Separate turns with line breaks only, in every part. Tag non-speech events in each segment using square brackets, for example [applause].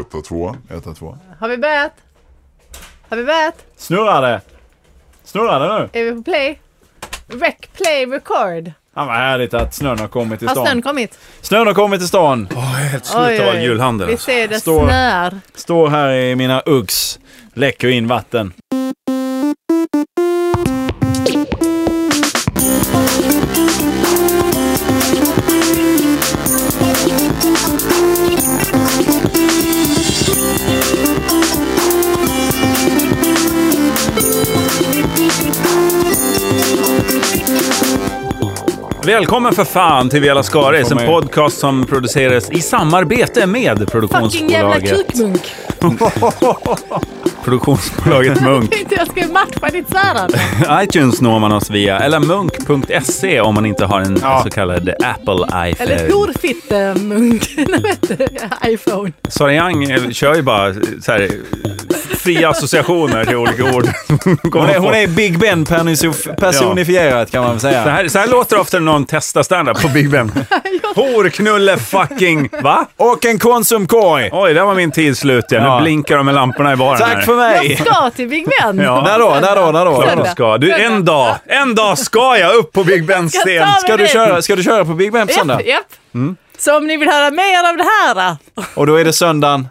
Etta, tvåa, etta, tvåa.
Har vi börjat? Har vi börjat?
Snurrar det? Snurrar det nu?
Är vi på play? Rec, play, record.
Ja, vad härligt att snön har kommit till
Har snön
stan.
kommit?
Snön har kommit till stan.
Åh, jag är helt slut av all julhandel.
Vi ser det
Står-
snöar.
Står här i mina Uggs. Läcker in vatten.
Välkommen för fan till Vela Skaris, en
Välkommen.
podcast som produceras i samarbete med
Fucking jävla typ.
produktionsbolaget,
kukmunk. [laughs]
produktionsbolaget Munk.
Tänkte jag skulle matcha ditt Zäran.
iTunes når man oss via, eller munk.se om man inte har en så kallad Apple
Eller
iPhone.
horfittemunk. [laughs] Nej, vad heter det? iPhone.
Sara Young eh, kör ju bara eh, så här, eh, fria associationer till olika ord.
[laughs] Hon är, hon är Big Ben personifi- personifierad kan man väl
Så
säga.
här, så här låter det ofta när någon testar standup på
[laughs]
Big Ben. Horknulle fucking... Va?
Och en Konsumkorg!
Oj, där var min tid slut igen.
Ja.
Nu blinkar de med lamporna i baren.
Tack för
Jag
mig!
ska till Big Ben.
Ja.
När då? När då? När
Klart
då?
de ska. Du, en dag, en dag ska jag upp på Big Bens
Jag
scen.
tar
Ska du köra, ska du köra på Big Ben på söndag?
Japp, japp.
Mm.
Så om ni vill höra mer av det här [laughs]
Och då är det söndagen.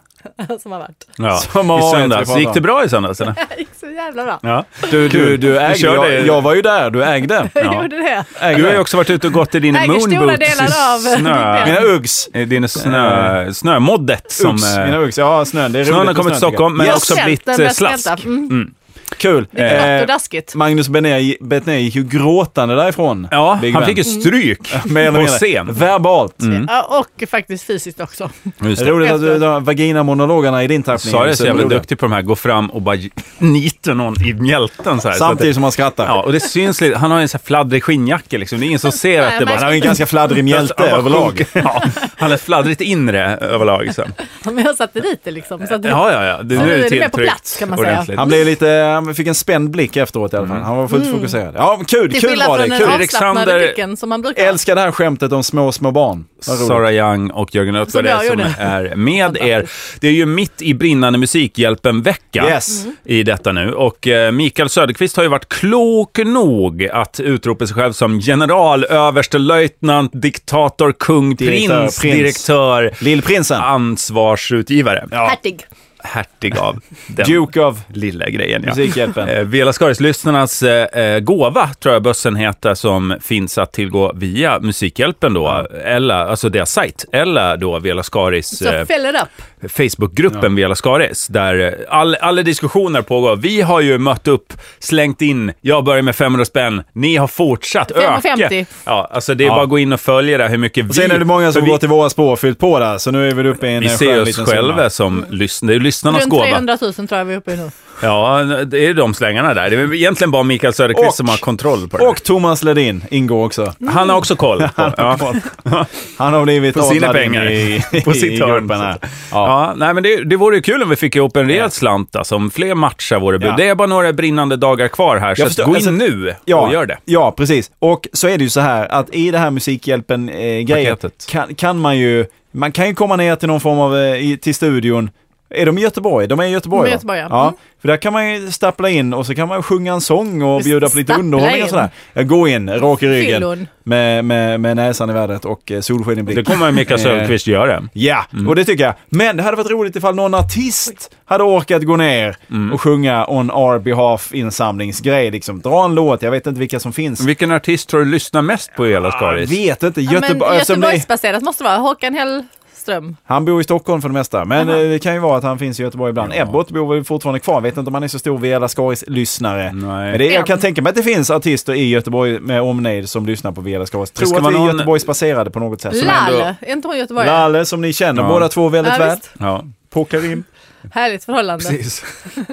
då, som har varit.
Ja.
Som har
I
varit, vi
söndags.
pratar
Gick det
om.
bra i söndags? Eller?
Det gick så jävla bra.
Ja.
Du, du, du ägde.
körde-
Jag, jag var ju där, du ägde.
Jag
Ja.
gjorde det.
Du har ju också varit ute och gått i dina
Äger stora
moonboots i
delar av
snö.
Mina Uggs. Eh.
I Din snö, snömoddet som...
Uggs.
eh,
Mina Uggs. Ja, snön. Det är
Snön
roligt
har
med
kommit till
snö, tycker
Stockholm, men
Jag
också
har
blivit
sett den
eh,
bästa
slask.
hjältar. Mm.
jag. Kul.
Det är grått och
Eh,
daskigt.
Magnus Benér Benér gick ju gråtande därifrån.
Ja,
Big
han
Ben.
fick ju stryk
Mer eller
på
mindre.
scen.
Verbalt.
Mm.
Ja, och faktiskt fysiskt också.
Det är roligt att du du har vaginamonologerna i din tappning.
Sara är så jävla
roliga.
duktig på de här, gå fram och bara nita någon i mjälten så här. Så att det-
Samtidigt som han skrattar.
Ja, och det syns lite. Han har en sån här fladdrig skinnjacka liksom. Det är ingen som ser att det
Nej,
bara...
Han är en ganska
[laughs]
fladdrig mjälte
Han bara
överlag.
sjunker. [laughs] Ja, han har ett fladdrigt inre överlag. liksom. Så.
[laughs] Ja, Men jag satte dit det liksom. Så att det,
Ja, ja, ja. Det,
Så nu är det
det
mer på
tilltryckt
plats, kan man säga.
ordentligt.
Han, blev lite, han fick en spänd blick efteråt i alla fall.
Mm.
Han var fullt fokuserad. Ja, kul,
Mm. till
kul
skillnad
var
från
det.
den
Kul.
avslappnade
Alexander-
blicken som man brukar.
Älskar det här skämtet om små, små barn. Vad roligt.
Sara Young och Jörgen Ötberg
Som jag
är som
gjorde.
är med er. Det är ju mitt i brinnande Musikhjälpen-vecka Mm.
Yes. Mhm.
i detta nu. Och eh, Mikael Söderqvist har ju varit klok nog att utropa sig själv som general, överstelöjtnant, diktator, kung,
Direktör,
prins,
prins.
direktör,
Lillprinsen.
ansvarsutgivare. Ja.
Hertig.
Hertig av
[laughs]
den
Duke of
lilla grejen. Ja.
Musikhjälpen.
Eh, Vela Skaris-lyssnarnas eh, eh, gåva, tror jag bössen heter, som finns att tillgå via Musikhjälpen då, eller, alltså deras sajt, eller då Vela Skaris
Så
eh,
fäll it up.
Facebookgruppen Vela Skaris, där eh, all, alla diskussioner pågår. Vi har ju mött upp, slängt in, jag börjar med 500 spänn, ni har fortsatt
550.
öka. Ja, alltså det är bara att gå in och följa där hur mycket vi...
Sen är det många
för
som
vi,
går till våra spår och fyllt på där, så nu är vi uppe i en
vi
skön
ser oss
liten summa.
själva som lyssn- det är ju lyssnarnas
Runt
gåva.
300 000 tror jag vi är uppe i nu.
Ja, det är de slängarna där. Det är egentligen bara Mikael Söderqvist
Och-
som har kontroll på det.
Och Thomas Ledin ingår
[laughs]
också.
Han har också koll. På, ja.
Han har blivit
Mm. [laughs] På sina
adlad in
pengar. [laughs]
i,
På sitt
i
hörn,
gruppen
så
här.
att säga. Ja, nej, men det, det vore ju kul om vi fick ihop en rejäl slant, alltså, om fler matcher vore bud.
Ja.
Det är bara några brinnande dagar kvar här, så
Jag
att
förstår,
gå in
alltså-
nu
Ja,
och gör det.
ja, precis. Och så är det ju så här att i det här Musikhjälpen-grejen
Paketet.
kan, kan man ju, man kan ju komma ner till någon form av, eh, i, till studion. Är de i Göteborg? De är i
De
Göteborg,
är i
va?
Göteborg, ja.
ja.
Mm.
För där kan man ju stappla in och så kan man sjunga en sång och
Visst,
bjuda på lite
stappla
underhållning
in.
och sådär. Jag går in, rak i ryggen,
Fyllon.
med, med, med näsan i vädret och eh, solsken i
Det Eh.
blick.
kommer [laughs] Mikael Söderqvist göra.
Ja,
Mm.
och det tycker jag. Men det hade varit roligt ifall någon artist hade orkat gå ner
Mm.
och sjunga on our behalf insamlingsgrej. Liksom, dra en låt, jag vet inte vilka som finns. Ah,
Vilken artist tror du lyssnar mest på i hela
Jag
Skaris?
vet inte.
Ja, men
Göteborg,
alltså,
eftersom det,
Göteborgsbaserat måste det vara. Håkan Hellström.
han bor i Stockholm för det mesta, men eh, det kan ju vara att han finns i Göteborg ibland. Ebbot bor väl fortfarande kvar, vet inte om han är så stor Vela Skaris-lyssnare.
Nej.
Men det, jag kan
Än.
tänka mig att det finns artister i Göteborg med omnejd som lyssnar på Vela Skaris.
ska
Tror att
vara
vi är
någon-
Göteborgsbaserade på något
Alltså,
sätt.
Lalle, är inte hon göteborgare?
Lalle som ni känner
Ja.
båda två väldigt
Ja,
väl.
visst.
[laughs] Ja.
Pockar in.
Härligt förhållande.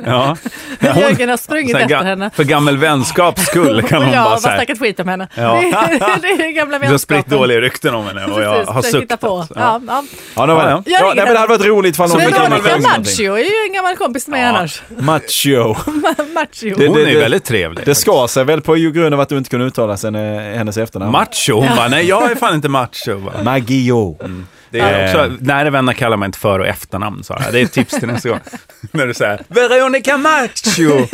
ja.
Jörgen har sprungit
Sen
efter
ga-
henne.
För gammal vänskaps skull
[laughs]
kan
Och
hon
jag
bara
har bara
säga.
snackat skit om henne. [laughs]
Ja.
Det, är, det är den gamla
Du har spritt
vänskapen.
dåliga rykten om henne och jag
Precis,
har
försökt hitta
suktat.
på. Ja, ja.
Ja, det var
Ja,
det.
ja.
Ja,
Jag ringer
nej, men det hade varit roligt ifall någon
Men
gammal
Veronica
vän eller
Maggio är ju en gammal kompis med mig annars. [laughs]
Macho.
Maggio.
Det-
Hon
det-
är ju
det-
väldigt trevlig.
Det skar sig väl på grund av att du inte kunde uttala sen, eh, hennes efternamn.
Macho, hon bara, nej jag är fan inte macho. Bara.
Maggio.
Det är
Eh.
också, nära vänner kallar man inte för och efternamn, Sara. Det är ett tips
[laughs]
till nästa gång. När du säger Veronica Macchio!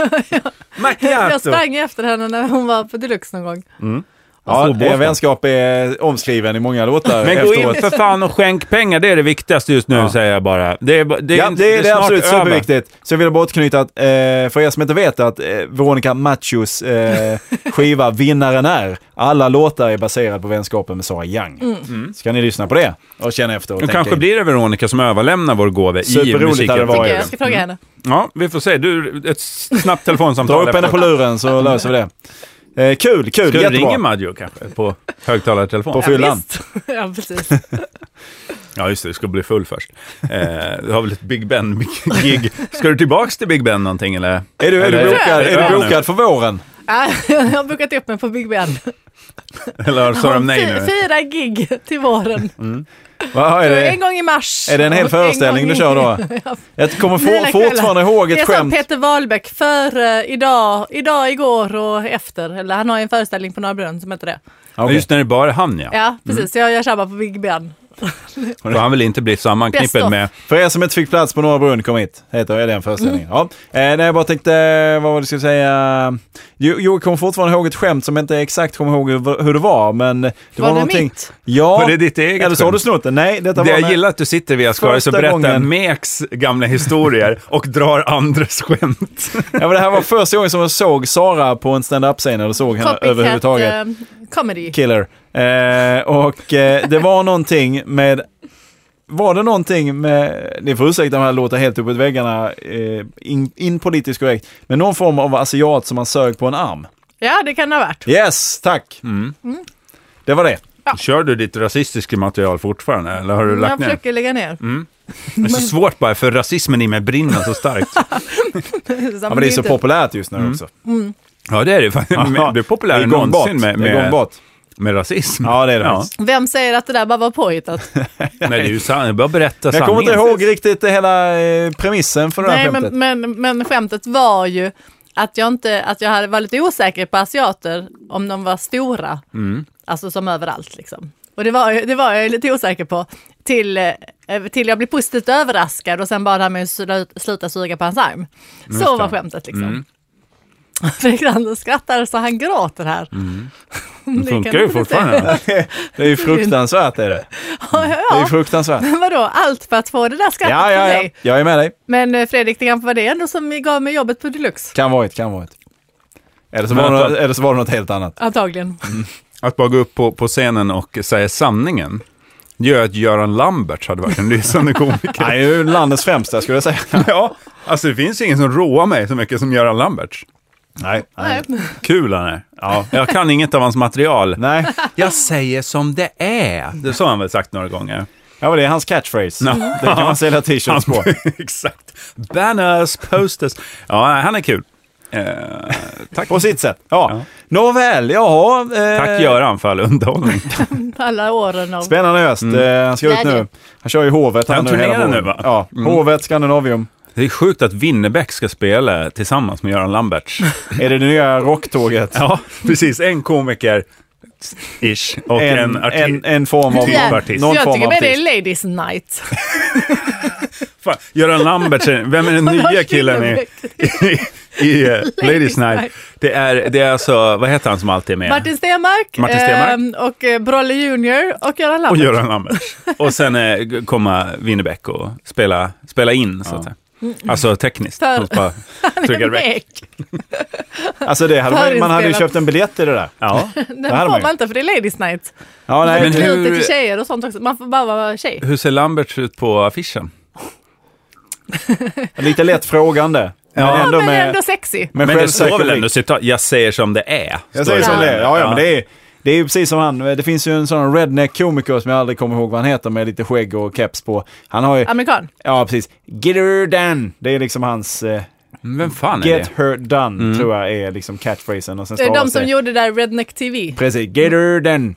Jag
Macchiato!
sprang efter henne när hon var på Deluxe någon gång.
Ja,
Alltså,
er vänskap är omskriven i många låtar
Men gå in
efteråt.
för fan och skänk pengar, det är det viktigaste just nu, säger jag bara. Det är, ba- det är,
Ja, det är, det är
snart
absolut
över.
superviktigt. Så jag vill bara återknyta att, eh, för er som inte vet att eh, Veronica Machios eh, skiva Vinnaren är, alla låtar är baserade på vänskapen med Sara Young. Ska ni lyssna på det och känna efter och
Och
tänka
Mm. kanske
in.
blir det Veronica som överlämnar vår gåve i
Superroligt hade det
musiken. Mm.
varit.
Tycker
är
jag.
det?
Jag ska fråga henne.
Ja, vi får se. Du, ett
[laughs]
snabbt
Dra
telefonsamtal.
upp henne på luren så löser vi det. Eh, kul, kul,
Ska du ringa
jättebra.
Maggio kanske? På högtalartelefon?
På fyllan.
Ja, visst. [laughs] ja, precis.
Ja, just det. Du ska bli full först. Eh, du har väl ett Big Ben-gig. Ska du tillbaks till Big Ben någonting eller?
Är du, är du
Eller-
bokad, är
Ja,
du
nu.
bokad för våren?
Ja, Ah, [laughs] jag har bokat upp mig på Big Ben.
Eller sa de nej
Fy-
nu?
Fyra gig till våren.
Vad [laughs] är
En
det?
gång i mars.
Är det en hel
och
föreställning
gång
du
i-
kör då?
Ja,
Jag kommer
Mina
for,
kvällar.
fortfarande ihåg
Det [laughs]
ett
är som
skämt.
Peter Wahlbeck, för eh, idag, idag, igår och efter. Eller han har ju en föreställning på Norra Brunn som heter det.
Ja, okej.
Just när det bara är han ja.
Mm.
Ja, precis. Så jag, jag tjabbar på Big Ben.
För han vill inte bli
Best
sammanknippad
of.
med...
För er som inte fick plats på Norra Brunn, kom hit. Heter är den föreställningen.
Mm.
Ja. Eh, nej, jag bara tänkte, vad var det jag skulle säga? Jo, jo, jag kommer fortfarande ihåg ett skämt som jag inte exakt kommer ihåg hur, hur det var, men det var,
Var det
någonting.
mitt?
Ja,
Var det ditt eget
eller så har du
skämt?
snott det. Nej, detta
Det
var
jag gillar att du sitter vid Ascaris och
Första
berättar
gången-
Meks gamla historier och drar andres skämt.
ja, men det här var första gången som jag såg Sara på en stand-up-scen, eller såg henne överhuvudtaget.
eh, comedy.
Killer. Eh, och eh, det var någonting med var det någonting med, ni får ursäkta om jag låter helt uppåt väggarna, eh, in, in politiskt korrekt, men någon form av asiat som man sög på en arm.
Ja, det kan det ha varit.
Yes, tack!
Mm.
Mm.
Det var det.
Kör du ditt rasistiska material fortfarande eller har du
Mm, Jag
lagt ner?
försöker lägga ner.
Mm.
[laughs]
Det är så svårt bara för rasismen i mig brinner
[laughs]
så starkt.
Ja, men det är så populärt just nu också.
Ja det är Mm. det. [laughs] Fan, Du är populär
Det
än
gångbart.
någonsin med,
Det är
med,
gångbart.
med rasism.
Ja, det är det faktiskt.
Vem säger att det där bara var påhittat?
Nej det är ju sant, jag bara berätta
Jag kommer
sanningen.
inte ihåg riktigt hela eh, premissen för det här
Nej,
skämtet.
men, men, men skämtet var ju att jag, inte, att jag hade, var lite osäker på asiater om de var stora.
Mm.
Alltså som överallt liksom. Och det var, jag- det var jag lite osäker på. Till, eh, till jag blev positivt överraskad och sen bara det här med att slu- sluta suga på hans
Mm,
arm. Så var skämtet liksom. [laughs] Fredrik Randers skrattar så han gråter här.
Mm.
Det funkar ju fortfarande.
Det
[laughs]
är ju fruktansvärt. Är det.
Ja,
det är ju
[laughs] ja.
fruktansvärt.
Men vadå, allt för att få det där skrattet
Ja,
från
ja, ja.
dig.
Jag är med dig.
Men eh, Fredrik, det kanske var det ändå som gav mig jobbet på Deluxe.
Kan varit, kan varit. Eller så
Men
var, det,
att-
något- eller så var det något helt
[laughs]
annat.
Antagligen.
[laughs]
Mm.
Att bara gå upp på, på scenen och säga sanningen gör att Göran Lamberts hade varit en [laughs] lysande komiker.
Han är ju landets främsta skulle jag säga.
ja, alltså det finns ingen som råar mig så mycket som Göran Lamberts.
Nej.
[laughs] Nej.
Kul han är. Ja, jag kan inget av hans material.
Nej,
[laughs] Jag säger som det är. Det så har han väl sagt några gånger.
ja, men det är hans catchphrase.
Ja.
Det kan man sälja t-shirts på.
[laughs] Exakt. Banners, posters. Ja, nej, han är kul. Eh, tack.
På sitt sätt. Ja.
Ja.
Nåväl, jaha. Eh,
Tack Göran för all [laughs] underhållning.
Alla åren av...
Spännande höst. Eh, han ska ut
Glädje.
nu. Han kör ju Hovet.
Mm. Han
hela
turnerar
våren.
nu, va? Mm.
Ja, Hovet, Scandinavium.
Det är sjukt att Winnerbäck ska spela tillsammans med Göran Lamberts.
Är det det nya rocktåget?
Ja, precis. En komiker, ish, och en, artist.
en, en form av...
Typ
Ja,
artist.
Någon
jag
form
tycker
av
mer det är Ladies
artist.
Night.
[laughs]
Fan, Göran Lamberts, är- vem är den nya killen i, [laughs] i, i eh, Ladies Night?
Night.
Det är, det är alltså, vad heter han som alltid är med?
Martin Stenmark,
Martin Stenmarck.
ehm, och eh, Brolle Junior och Göran
Och
Lambert.
Göran Lamberts. Och sen eh, g- komma Winnerbäck och spela, spela in, så att säga. Alltså tekniskt.
För-
De bara trycker väck.
Mek.
Alltså det hade man, man hade ju
Förinspelat.
köpt en biljett till det där.
Ja.
Den
hade man
får
ju.
man inte för det är Ladies Night.
Ja, nej,
Men
det-
hur-
Lite till tjejer och sånt också. Man får bara vara tjej.
Hur ser Lamberts ut på affischen?
lite lätt frågande.
Ja,
men ändå
men
med,
ändå sexy.
med
Men det står väl
självsäker
ändå
blick.
citat, jag säger som det är.
Jag
Står
säger som det är. Ja, ja, men
Ja.
det är, det är ju precis som han. Det finns ju en sån redneck-komiker som jag aldrig kommer ihåg vad han heter med lite skägg och keps på. Han har ju,
Amerikan.
ja precis, Get her done. Det är liksom hans, eh,
Vem fan är
Get
det? Mm.
her done tror jag är liksom catchphrasen. Och sen
Det är Eh, de
stavas
som gjorde det där Redneck TV.
Precis, Get her done.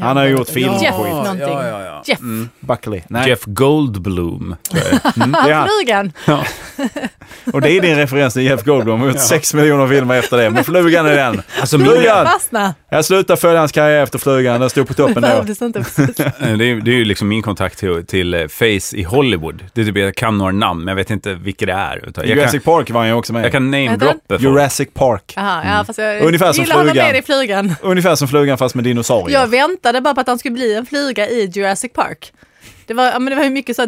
Han har ju gjort film
Jeff
och skit. Mm.
någonting.
Ja, ja, ja.
Jeff.
Buckley. Nej,
[laughs] Jeff Goldblum.
[laughs]
det är han.
Frugan.
Och det är din referens till Jeff Goldblum. Han har gjort sex miljoner filmer efter det. Men Flugan är den.
Alltså,
Flugan!
Fastna!
Jag slutade följa hans karriär efter Flugan. Den stod på toppen då.
Behövdes
[laughs]
inte. precis.
Eh, Det är, det är ju liksom min kontakt till, till eh, Face i Hollywood. Det är typ, jag kan några namn, men jag vet inte vilka det är. Utan Jag kan,
Jurassic Park var han ju också med i.
jag kan
Vad heter
namedroppa folk.
Jurassic Park.
Jaha, ja, fast jag
Ungefär som
gillar honom
flugan.
mer i flugan.
Ungefär som Flugan fast med dinosaurier.
Jag väntade bara på att han skulle bli en fluga i Jurassic Park. Det var, ja, men det var ju mycket så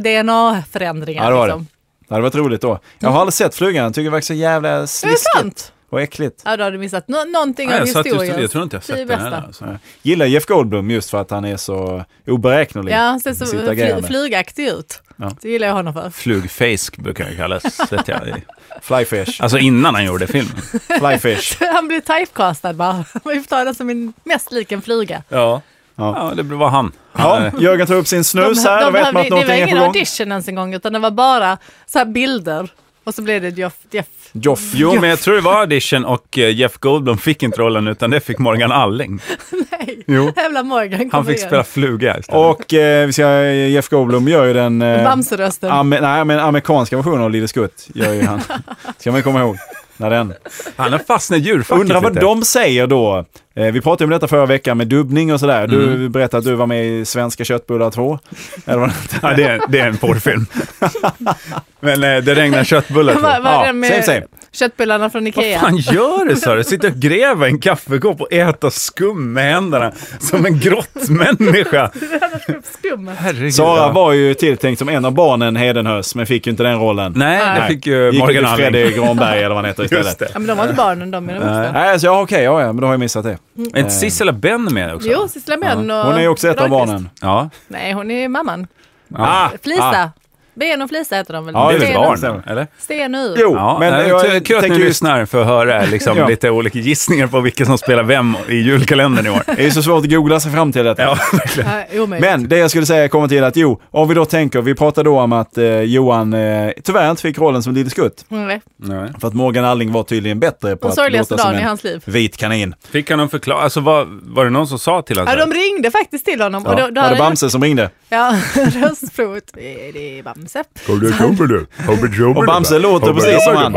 DNA-förändringar.
Ja, det var det.
liksom.
Det hade varit roligt då. Jag har aldrig sett Flugan. Jag tycker det verkar så jävla
det är
sliskigt
sant!
och äckligt.
Ja, då har du missat Nå- någonting
Ja,
av
jag, satt just,
historien.
jag tror inte jag har
Det är
sett den
bästa.
heller. alltså.
Gillar Jeff Goldblum just för att han är så oberäknelig.
Ja, han ser så
i sitt
fly,
agerande.
flygaktig ut.
Ja.
Det gillar jag honom för. [laughs]
Flugfisk brukar jag kallas. vet jag.
Flyfish.
Alltså innan han gjorde filmen.
Flyfish.
Han blir typecastad bara. Vi får ta den som en mest lik en fluga.
Ja.
Ja.
ja, det var han.
[laughs]
han
Ja, Jörgen tar upp sin snus här. Då vet man
behövde-
att
det var
någonting är på
ingen
gång.
audition ens en gång, utan det var bara så här bilder. Och så blev det Jeff. Jeff. [laughs]
Joff.
Jo, men jag tror det var audition och eh, Jeff Goldblum fick inte rollen utan det fick Morgan Alling.
Nej,
Jo.
jävla Morgan kom
Han fick
igen.
spela fluga istället.
Och eh, vi ska, Jeff Goldblum gör ju den... Eh,
Bamserösten.
amer, nej, men amerikanska versionen av Lille Skutt gör ju
[laughs]
han. ska man komma ihåg. När den.
Han har fastnat i djurfacket
Undrar vad
lite.
de säger då. Eh, vi pratade om detta förra veckan med dubbning och sådär. Du
Mm.
berättade att du var med i Svenska köttbullar
[laughs]
2. Eller vad det
Ja, det, är, det är en porrfilm. men eh, det regnar köttbullar
[laughs]
på.
Vad- vad är
Ja.
det med
same, same.
köttbullarna från
Vad
Ikea?
fan gör du sa du? Sitter och gräver en kaffekopp och äta skum med händerna som en grottmänniska.
Skummet.
Herregud.
Sara var ju tilltänkt som en av barnen Hedenhös, men fick ju inte den rollen.
Nej, det
Nej.
fick ju
Gick
Morgan
till Fredrik
Alling.
Granberg eller vad han heter istället.
[laughs]
Eh,
Just det.
Ja, men de var inte barnen, de är de vuxna.
Nej, så ja, okej, ja, ja, men då har jag missat det.
Är inte Sissela Benn med också?
Jo, Sissela Mön och...
Hon är ju också ett av
Dahlqvist.
barnen. Ah,
Ja.
Nej, hon är mamman.
ja.
Flisa. Ben och Flisa heter de väl?
Ja,
Ah, Det är
det
väl Oh,
och-
barn, eller?
Sten ur.
Jo,
Ja,
men
nej,
jag
kul- kul att
tänker
ni
just,
lyssnar för att höra liksom,
Ja.
lite olika gissningar på vilka som spelar vem i julkalendern i år.
det är så svårt att googla sig fram till detta.
[laughs] Ja,
Ja, omöjligt.
Men det jag skulle säga kommer till att jo, om vi då tänker, vi pratade då om att eh, Johan eh, tyvärr inte fick rollen som Lille Skutt.
Nej.
Nej.
För att Morgan Alling var tydligen bättre på
Den
att
sorgligaste
låta som
dagen i
en
hans liv.
vit kanin.
Fick han någon förklaring? Alltså, var, var det någon som sa till
Ja,
honom?
de ringde faktiskt till honom.
Ja.
Och då, då
var det
hade han
Bamse som ringde?
Ja, [laughs] röstprovet. Det är- det är Bamse.
Och Bamse låter precis som han.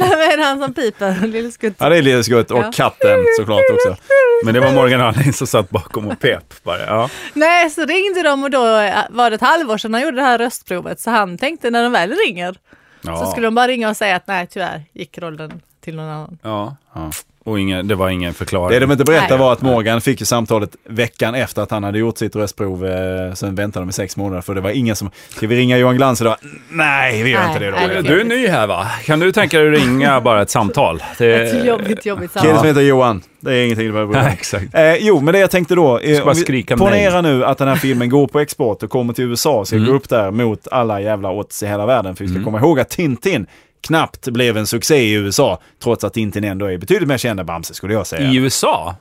Nej, men han som piper, lille skutt.
Ja, det är Lille Skutt och
Ja.
katten såklart också.
Men det var Morgan Alling som satt bakom och pep bara. Ja.
Nej, så ringde de och då eh, var det ett halvår sedan han gjorde det här röstprovet. Så han tänkte när de väl ringer
Ja.
så skulle de bara ringa och säga att nej, tyvärr gick rollen till någon annan.
ja. Och ingen, det var ingen förklaring.
Det de inte berättar
Nej.
var att Morgan fick ju samtalet veckan efter att han hade gjort sitt röstprov. Eh, sen väntade de i sex månader för det var ingen som, ska vi ringa Johan Glans idag? Nej, vi gör
Nej,
inte det då.
nej, det
Du är ny här va? Kan du tänka dig att ringa bara ett samtal? Det...
Eh,
Ett jobbigt, jobbigt
Killen som
samtal.
heter Johan, det är ingenting du behöver bry dig
Nej,
om.
exakt.
Eh, jo, men det jag tänkte då. Eh,
bara
om vi-
skrika
ponera nu att den här filmen går på export och kommer till USA och ska
Mm.
gå upp där mot alla jävla odds i hela världen. För vi ska komma ihåg att Tintin knappt blev en succé i USA, trots att Tintin ändå är betydligt mer känd än Bamse skulle jag säga.
I USA?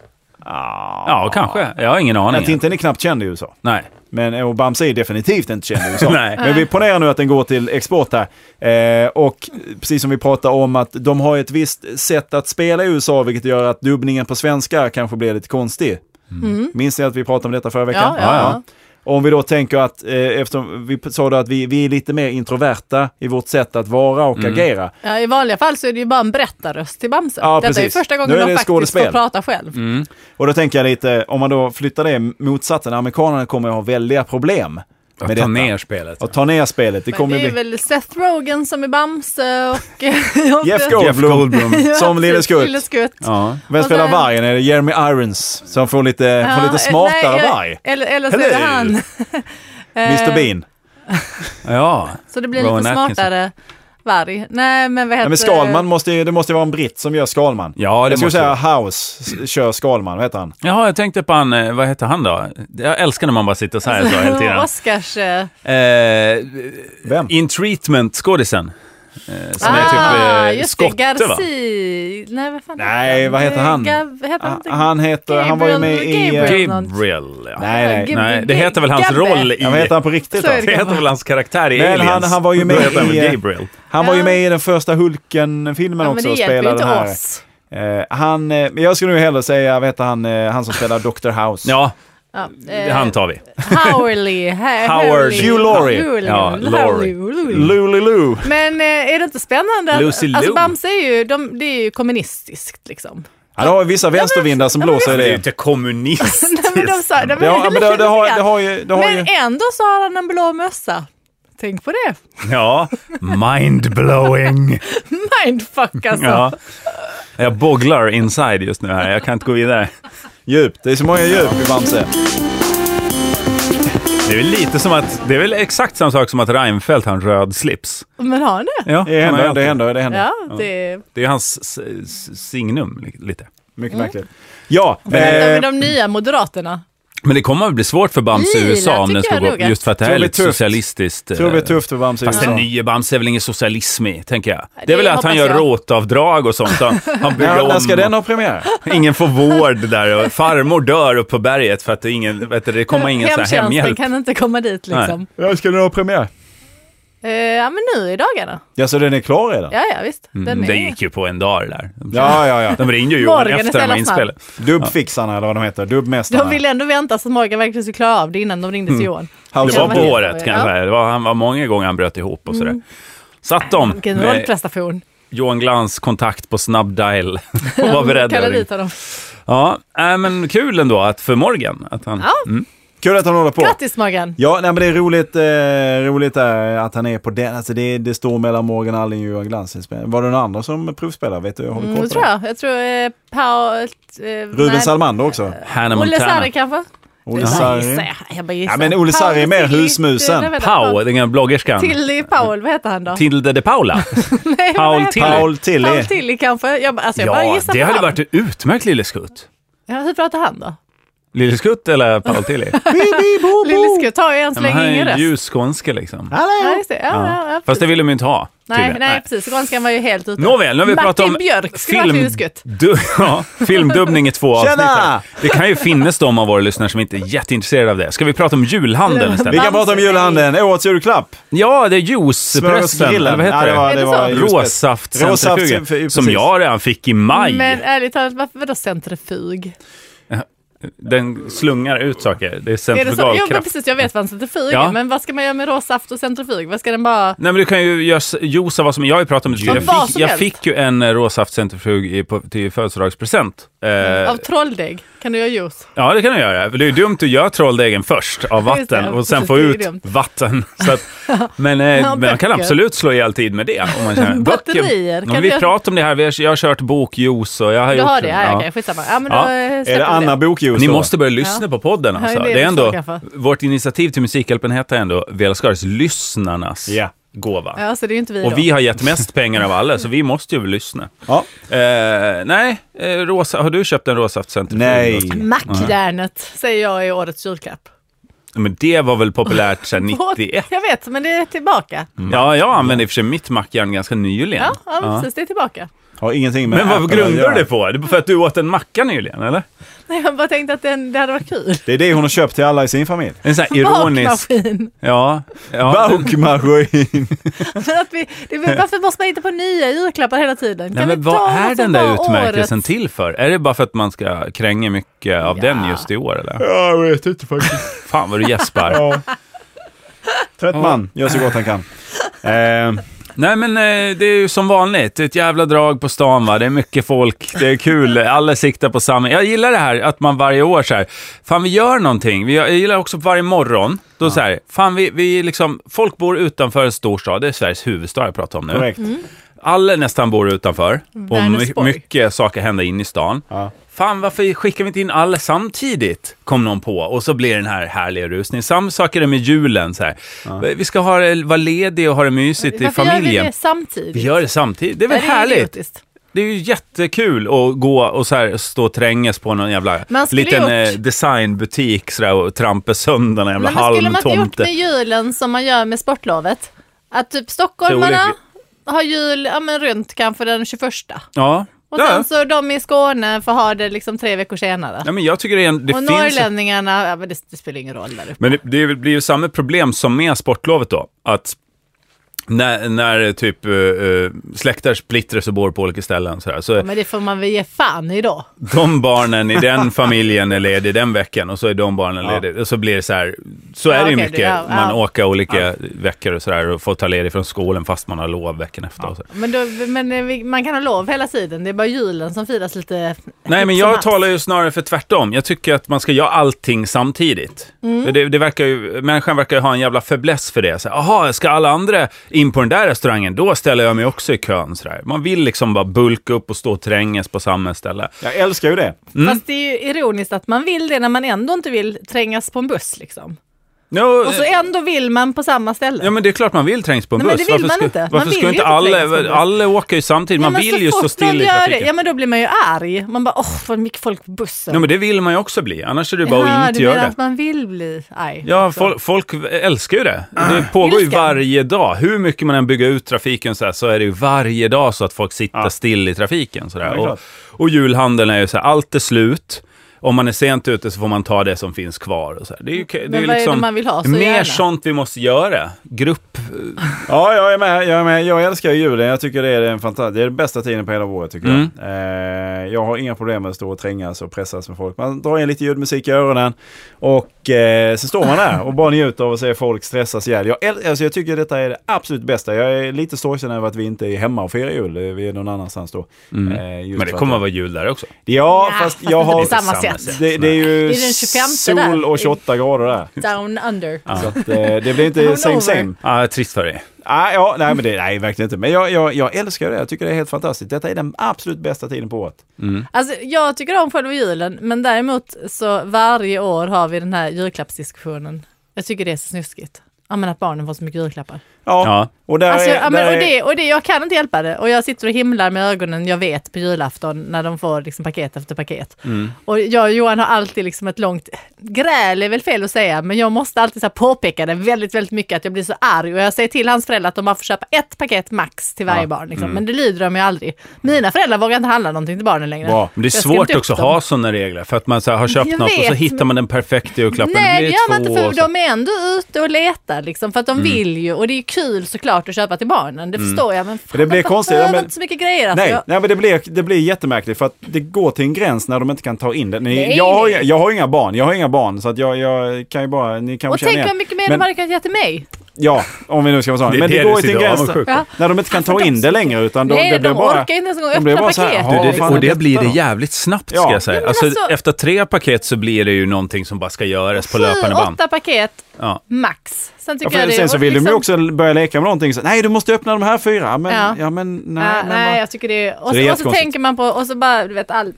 Ah.
Ja, kanske. Jag har ingen
Nej,
aning.
Tintin är knappt känd i USA.
Nej.
Men eh, och Bamse är definitivt inte känd i USA.
Nej.
Men vi ponerar nu att den går till export här. Eh, och precis som vi pratade om att de har ett visst sätt att spela i USA vilket gör att dubbningen på svenska kanske blir lite konstig. Minns ni att vi pratade om detta förra veckan?
Mm. Ja, ja, ja.
Om vi då tänker att, eh, eftersom vi sa då att vi, vi är lite mer introverta i vårt sätt att vara och agera.
Ja, I vanliga fall så är det ju bara en berättarröst till Bamse.
Ja,
Detta är ju
precis.
första
Nu
gången
är det
de faktiskt
skådespel. Mm.
får prata själv.
Och då tänker jag lite, om man då flyttar det motsatsen, amerikanerna kommer att ha väldiga problem
Att ta
detta.
ner spelet.
Och ta ner spelet. Det
Men
kommer
det
ju
är
bli...
väl Seth Rogen som är Bamse och... [laughs]
Jeff
Jeff
Goldblum,
Goldblum.
som Lille
precis,
Skutt.
Lille Skutt.
Ja.
Vem
Och
spelar
sen-
vargen? Är det Jeremy Irons som får lite, får lite
eh,
smartare
nej, jag-
varg?
Eller, eller så är det
Hello. [laughs]
han. Eh,
Mr Bean.
ja.
Så det blir
Rowan
lite
Atkinson.
smartare varg. Nej, men vad heter
Nej, men Skalman måste ju, det måste ju vara en britt som gör Skalman.
Ja, det
jag skulle
måste
säga House s- kör Skalman, vad heter han?
Jaha, jag tänkte på han, eh, vad heter han då? Jag älskar när man bara sitter så här så hela
[laughs]
tiden.
Oscars... eh,
Eh,
Vem?
In Treatment, skådisen. Eh, som är
ah,
typ eh,
just det.
skotte
Garcia.
va?
Nej, vad fan
Nej,
han?
vad heter han?
Gav, heter han,
Ah,
inte?
Han, heter, han var ju med i... eh,
Gabriel.
Gabriel, ja. Nej.
Nej, nej.
Gabriel.
Nej, det heter väl hans
Gabbe.
roll i...
Ja, vad heter han på riktigt då?
Så är
Det heter väl hans karaktär i
Men
Aliens?
han- han var ju med
Då heter han
i,
väl
eh,
Gabriel.
Han var ju
Ja.
med i den första Hulken-filmen
Ja, men
också
det
och
hjälper ju
spelade
inte
den här.
oss.
Eh, han, eh, men jag skulle nu hellre säga, vad heter han, eh, han som spelar Dr House?
Ja,
Ja, [laughs]
Han tar vi.
Hourly.
Howard.
Hugh Laurie.
Ja,
Ja,
Laurie.
Luliloo.
Men eh, är det inte spännande? att-
Lucy Liu.
alltså Bamse är ju, de, det är ju kommunistiskt liksom. [laughs]
Ja, det har ju vissa vänstervindar som blåser i
Det är ju
det.
inte kommunistiskt.
[laughs]
Nej, men de sa, nej, men [laughs]
Ja, men det, det, har, det har ju... Det har ju
Men ändå så har han en blå mössa. Tänk på det. [laughs]
Ja, mindblowing.
Mindfuck alltså.
Ja. Jag bogglar inside just nu här, jag kan inte gå vidare.
djup. Det är så många djup i Bamse.
Det är väl lite som att, det är väl exakt samma sak som att Reinfeldt har en röd slips.
Men har han det?
Ja,
Det
han har ju
händer, det
alltid-
händer, det händer.
Ja, det
Det är hans s- s- signum li- lite.
Mycket
Mm.
märkligt. Ja,
Vänta
eh,
med de nya moderaterna.
Men det kommer att bli svårt för Bamse i
Lila,
USA om den
tycker
ska
jag
gå,
nog att-
just för att det här
Tror
är
det
lite
blir tufft.
socialistiskt.
tror det blir
eh,
tufft för Bamse i
Fast den
USA.
nye Bamse är väl ingen socialismig, tänker jag. Det,
Alltså. det
är väl att han
hoppas
gör
jag.
rotavdrag och sånt. Han, han bygger
När,
om.
när ska den ha premiär?
Ingen får vård där och farmor dör uppe på berget för att det, är ingen, vet du, det kommer ingen sån här hemhjälp.
kan inte komma dit liksom.
När ska den ha premiär?
Eh, ja, men nu i dagarna.
Ja, så den är klar redan?
Ja, ja, visst. Den
Mm,
är...
det gick ju på en dag det där.
Ja, ja, ja.
De ringde ju Morgan
Morgan
efter
istället
de här
för
inspelen.
Dubbfixarna eller vad de heter, dubbmästarna.
De ville ändå vänta så att Morgan verkligen skulle klara av det innan de ringde till Johan.
Mm. Det
House
var
of
på
Ja. Mm.
Blue.
håret kan jag säga. Det var, han var många gånger han bröt ihop och sådär. Satt de
Vilken
med
rollprestation.
Johan Glans kontakt på
[laughs]
snabb dial och var beredda. att
Kalla
ringa.
dit honom.
Ja, äh, men kul ändå att för Morgan. Att han,
Ja.
mm.
Kul att han håller på.
Grattis Morgan!
Ja, nej, men det är roligt, eh, roligt där att han är på den. Alltså det, det står mellan Morgan Alling och Johan Glans. Var det någon annan som provspelar? Vet du? Har du
Mm,
koll
det tror
på det?
jag. Jag tror eh, Pau... Eh,
Ruben
nej, Eh,
Salmander också.
Hannah
Olle
Montana.
Sarri kanske? Jag
Olle
bara
Sarri.
gissar. Jag bara gissar.
Ja, men Olle Sarri är mer
Paul-
husmusen.
Nej, vänta,
Pau, den gamla bloggerskan.
Tilly Powell, vad heter han då?
Tilde de Paula.
Nej, vad
Paul
heter
Tilly.
han?
Paul Tilly.
Paul Tilly kanske? Jag, bara- alltså, [laughs] jag bara
ja,
gissar
det
på
hade
namn.
varit en utmärkt Lille Skutt.
Ja, hur pratar han då?
Lille Skutt
[laughs]
eller Paul Tilly?
Lille Skutt har ju än så
Men han
länge ingen
är
röst.
ju ljus skånske liksom.
Ja,
Hallå!
just det. Ja, ja. Ja,
Fast det ville de ju inte ha.
nej,
tydligen.
nej, precis. Skånskan var ju helt ute.
Nåväl, nu har vi
Martin
pratat om
Björk skulle
film-
varit Lille Skutt.
Du, [laughs] ja, filmdubbning i två avsnitt.
Tjena!
här. Det kan ju finnas de av våra lyssnare som inte är jätteintresserade av det. Ska vi prata om julhandeln
Vi
istället?
kan prata om julhandeln. Årets julklapp.
Ja, det är juicepressen, eller vad heter
Ja, det var,
det?
Är
det
det
var
så?
just det. Råsaft,
Råsaftcentrifugen,
precis.
som jag redan fick i maj.
Men ärligt talat, varför, vadå centrifug?
Den slungar ut saker.
Är
Det är
det så? Jo, men
centrifugalkraft.
precis, jag vet vad en centrifug är,
Ja.
men vad ska man göra med råsaft och centrifug? Vad ska den bara...
Nej men du kan ju göra s- juice av vad som, jag har ju pratat om det
Av
tidigare. jag
vad
fick,
som
jag
helst.
fick ju en eh, råsaftcentrifug i, på, till födelsedagspresent. Eh,
Av trolldeg? Kan du göra juice?
Ja, det kan du göra. För det är ju dumt att göra trolldegen först av
Just det,
vatten och sen
precis,
få
det är ju
ut
dumt. [laughs]
vatten. Så att, men, eh, men man kan
böcker.
absolut slå ihjäl tid med det. Om
[laughs]
man känner.
Batterier,
Böcker.
kan
vi
du-
pratar om det här, vi har, jag har kört bokjuice och jag har
Du
gjort...
har det? Ja,
ja.
okej, skitsamma. Ja, men
Ja.
då eh, släpper vi
Är det
det
Anna Bokjuice?
Ni
då?
måste börja lyssna
Ja.
på podden alltså.
Ja, det är
det, är
det vi
ändå,
ska skaffa.
vårt initiativ till Musikhjälpen heter ändå Vela Skares lyssnarnas
Ja.
gåva.
Ja, så det är ju inte vi då.
Och vi har gett mest pengar av alla, så vi måste ju väl lyssna.
Ja.
Eh, nej, eh, rosa, har du köpt en råsaftcentrifug?
Nej.
Mackjärnet säger jag är årets julklapp.
Men det var väl populärt sedan
[laughs]
91?
Jag vet, men det är tillbaka.
Ja, jag använde i och för sig mitt mackjärn ganska nyligen.
Ja, ja, men precis, det är tillbaka.
Har ingenting med
Men vad
Apple att
grundar
göra.
du det på? Det är för att du åt en macka nyligen, eller?
Nej, jag bara tänkte att den, det hade varit kul.
Det är det hon har köpt till alla i sin familj.
En sån här ironisk...
Bakmaskin.
Ja. ja.
Baukmaskin!
Men att vi, det,
[laughs]
är- varför måste man inte på nya julklappar hela tiden?
Nej,
Kan
men
vi ta
vad är
något
den
som
där
var
utmärkelsen
årets?
till för? Är det bara för att man ska kränga mycket av
Ja.
den just i år, eller?
jag vet inte faktiskt.
Fan vad
[laughs]
du gäspar.
Ja. [laughs] Trött man, gör så gott han kan. Eh,
Nej, men eh, det är ju som vanligt. Det är ett jävla drag på stan, va. Det är mycket folk. Det är kul. Alla siktar på samma... Jag gillar det här att man varje år så här... Fan, vi gör någonting. Vi gör, jag gillar också varje morgon. Då så här... Fan, vi, vi liksom... Folk bor utanför en storstad. Det är Sveriges huvudstad jag pratar om nu.
korrekt.
Mm.
Alla nästan bor utanför och my-
Vänersborg.
mycket saker händer in i stan.
Ja.
Fan, varför skickar vi inte in alla samtidigt? Kom någon på och så blir den här härliga rusningen. Samma sak är det med julen. Så här. Vi ska ha det, vara ledig och ha det mysigt i
Varför gör vi
familjen.
det samtidigt?
Vi gör det samtidigt. Det är
Ja,
väl härligt?
idiotiskt.
Det är ju jättekul att gå och så här stå och trängas på någon jävla
Man skulle
liten
gjort-
eh, designbutik så där, och trampa sönder någon jävla
Men vad skulle man inte gjort
halmtomte.
med julen som man gör med sportlovet? Att typ
Det är
stockholmarna
olyckligt.
har jul ja, men runt kanske den 21.
Ja.
Och
ja.
sen så de i Skåne får ha det liksom tre veckor senare.
ja, men jag tycker det, är en, det
och
finns...
norrlänningarna, ja, men det, det spelar ingen roll där uppe.
Men det, det blir ju samma problem som med sportlovet då. Att När, när typ eh, släktar splittras och bor på olika ställen. Så, så
Men det får man väl ge fan i då.
de barnen i den familjen är ledig den veckan och så är de barnen
Ja.
lediga. Och så blir det så här, så
Ja,
är det ju
okej,
mycket.
det- ja,
man
ja.
åker olika veckor och så där och får ta ledigt från skolan fast man har lov veckan efter. Och så.
Men, då, men eh, vi- man kan ha lov hela tiden. Det är bara julen som firas lite
Nej,
som
men jag
allt.
talar ju snarare för tvärtom. Jag tycker att man ska göra allting samtidigt.
Mm.
Det, det verkar ju, människan verkar ju ha en jävla fäbless för det. Så här, Aha, ska alla andra in på den där restaurangen, då ställer jag mig också i kön. Så där. Man vill liksom bara bulka upp och stå och trängas på samma ställe.
Jag älskar ju det.
mm.
Fast det är ju ironiskt att man vill det när man ändå inte vill trängas på en buss liksom.
No,
Och så ändå vill man på samma ställe.
Ja, men det är klart man vill trängas på en
Nej, men
buss.
det vill man
ska,
inte. Man
Varför
vill
ska
ju
inte
inte trängas på en
alla...
buss.
Alla åker ju samtidigt.
Ja,
man
men så
vill ju stå
fort någon
still i
gör
trafiken.
Det, ja men då blir man ju arg. Man bara åh vad mycket folk på bussen.
Nej, men det vill man ju också bli. Annars är det bara
Jaha,
att inte
du menar
göra det.
att man vill bli arg? Liksom.
Ja,
också.
folk, folk älskar ju det. Det pågår ju
Ah. Älskar.
varje dag. Hur mycket man än bygger ut trafiken så, här, så är det ju varje dag så att folk sitter still i trafiken. Så
Ja,
där.
det är
och,
klart.
och julhandeln är ju så här, allt är slut. Om man är sent ute så får man ta det som finns kvar. Och så här. Det är ju det är ju
vad är det
liksom
man vill ha? Så
mer
gärna.
sånt vi måste göra. Grupp.
Ja, jag är med. Jag, är med. jag älskar ju julen. Jag tycker det är en fantastisk... Det är den bästa tiden på hela året tycker
Mm.
jag. Eh, jag har inga problem med att stå och trängas och pressas med folk. Man drar in lite ljudmusik i öronen och eh, sen står man där och bara njuter av att se folk stressas ihjäl. Jag, äl- alltså, jag tycker detta är det absolut bästa. Jag är lite sorgsen över att vi inte är hemma och firar jul. Eh, Vi är någon annanstans då. Eh, just
Mm. Men det
för att-
kommer att vara jul där också.
Ja,
Nja,
fast
fast
jag
inte
har...
på samma sätt.
Det, det är ju
Är det den 25 där?
sol och 28 grader där.
Down under.
Så att, eh,
[laughs]
det blir
Hon
inte same
lovar.
same.
Ja, jag är trist för dig.
Nej, Ah, ja, nej, men det, nej, verkligen inte. Men jag, jag, jag älskar det. Jag tycker det är helt fantastiskt. Detta är den absolut bästa tiden på året.
Alltså jag tycker om själva julen men däremot så varje år har vi den här julklappsdiskussionen. Jag tycker det är så snuskigt. Ja men att barnen får så mycket julklappar.
Ja,
Ja.
och där
Alltså,
är...
ja,
där
men, och,
är-
det, och det, jag kan inte hjälpa det. Och jag sitter och himlar med ögonen, jag vet, på julafton när de får liksom paket efter paket.
Mm.
Och jag och Johan har alltid liksom ett långt, gräl är väl fel att säga, men jag måste alltid så här påpeka det väldigt, väldigt mycket att jag blir så arg. Och jag säger till hans föräldrar att de bara får köpa ett paket max till varje barn. Liksom.
Mm.
Men det lyder de ju aldrig. Mina föräldrar vågar inte handla någonting till barnen längre.
Bra.
Men det är
Jag har
svårt
skrämt upp
också att
dem.
ha sådana regler. För att man så här, har köpt
Jag
något och så
vet,
hittar man den perfekta julklappen.
Nej, det
blir
gör man
två
inte
och
för
så.
de är ändå ute och letar liksom för att de
Mm.
vill ju och det är ju kul såklart att köpa till barnen, det förstår jag men fan,
det
man
blir konstigt, ja,
behöver
men-
inte så mycket grejer alltså.
Nej,
Jag-
nej, men det blir, det blir jättemärkligt för att det går till en gräns när de inte kan ta in det. Ni,
Nej,
jag, har,
nej.
ju- jag har ju inga barn, jag har inga barn så att jag, jag kan ju bara, ni kan
Och
känna
tänk
igen.
vad mycket mer
Men-
de hade kunnat ge till mig.
Ja, om vi nu ska vara sådana.
Det är
Men
det
det
du
går ju till
sitter
en
och
gräns
avundsjuk på.
Ja.
när de inte kan ta
Alltså, de-
in det längre utan de,
Nej,
det blir
de
bara...
orkar inte ens en gång
de blir
öppna
bara så här,
paket.
"Ja,
Du,
fan,
det, och det
detta
blir det
då?"
jävligt snabbt
Ja.
ska jag säga.
Ja, men
alltså,
alltså-
efter tre paket så blir det ju någonting som bara ska göras på
Sju,
löpande band.
åtta paket
Ja.
max. Sen tycker
Ja, för
jag det
sen så
och
vill de
liksom-
ju också börja leka med någonting. Så, nej, du måste öppna de här fyra. Ja, Men, ja.
Ja.
men nej.
Nej,
men vad-
nej, jag tycker det är... Och så,
det är
och så
jättekonstigt.
tänker man på, och så bara, du vet, all,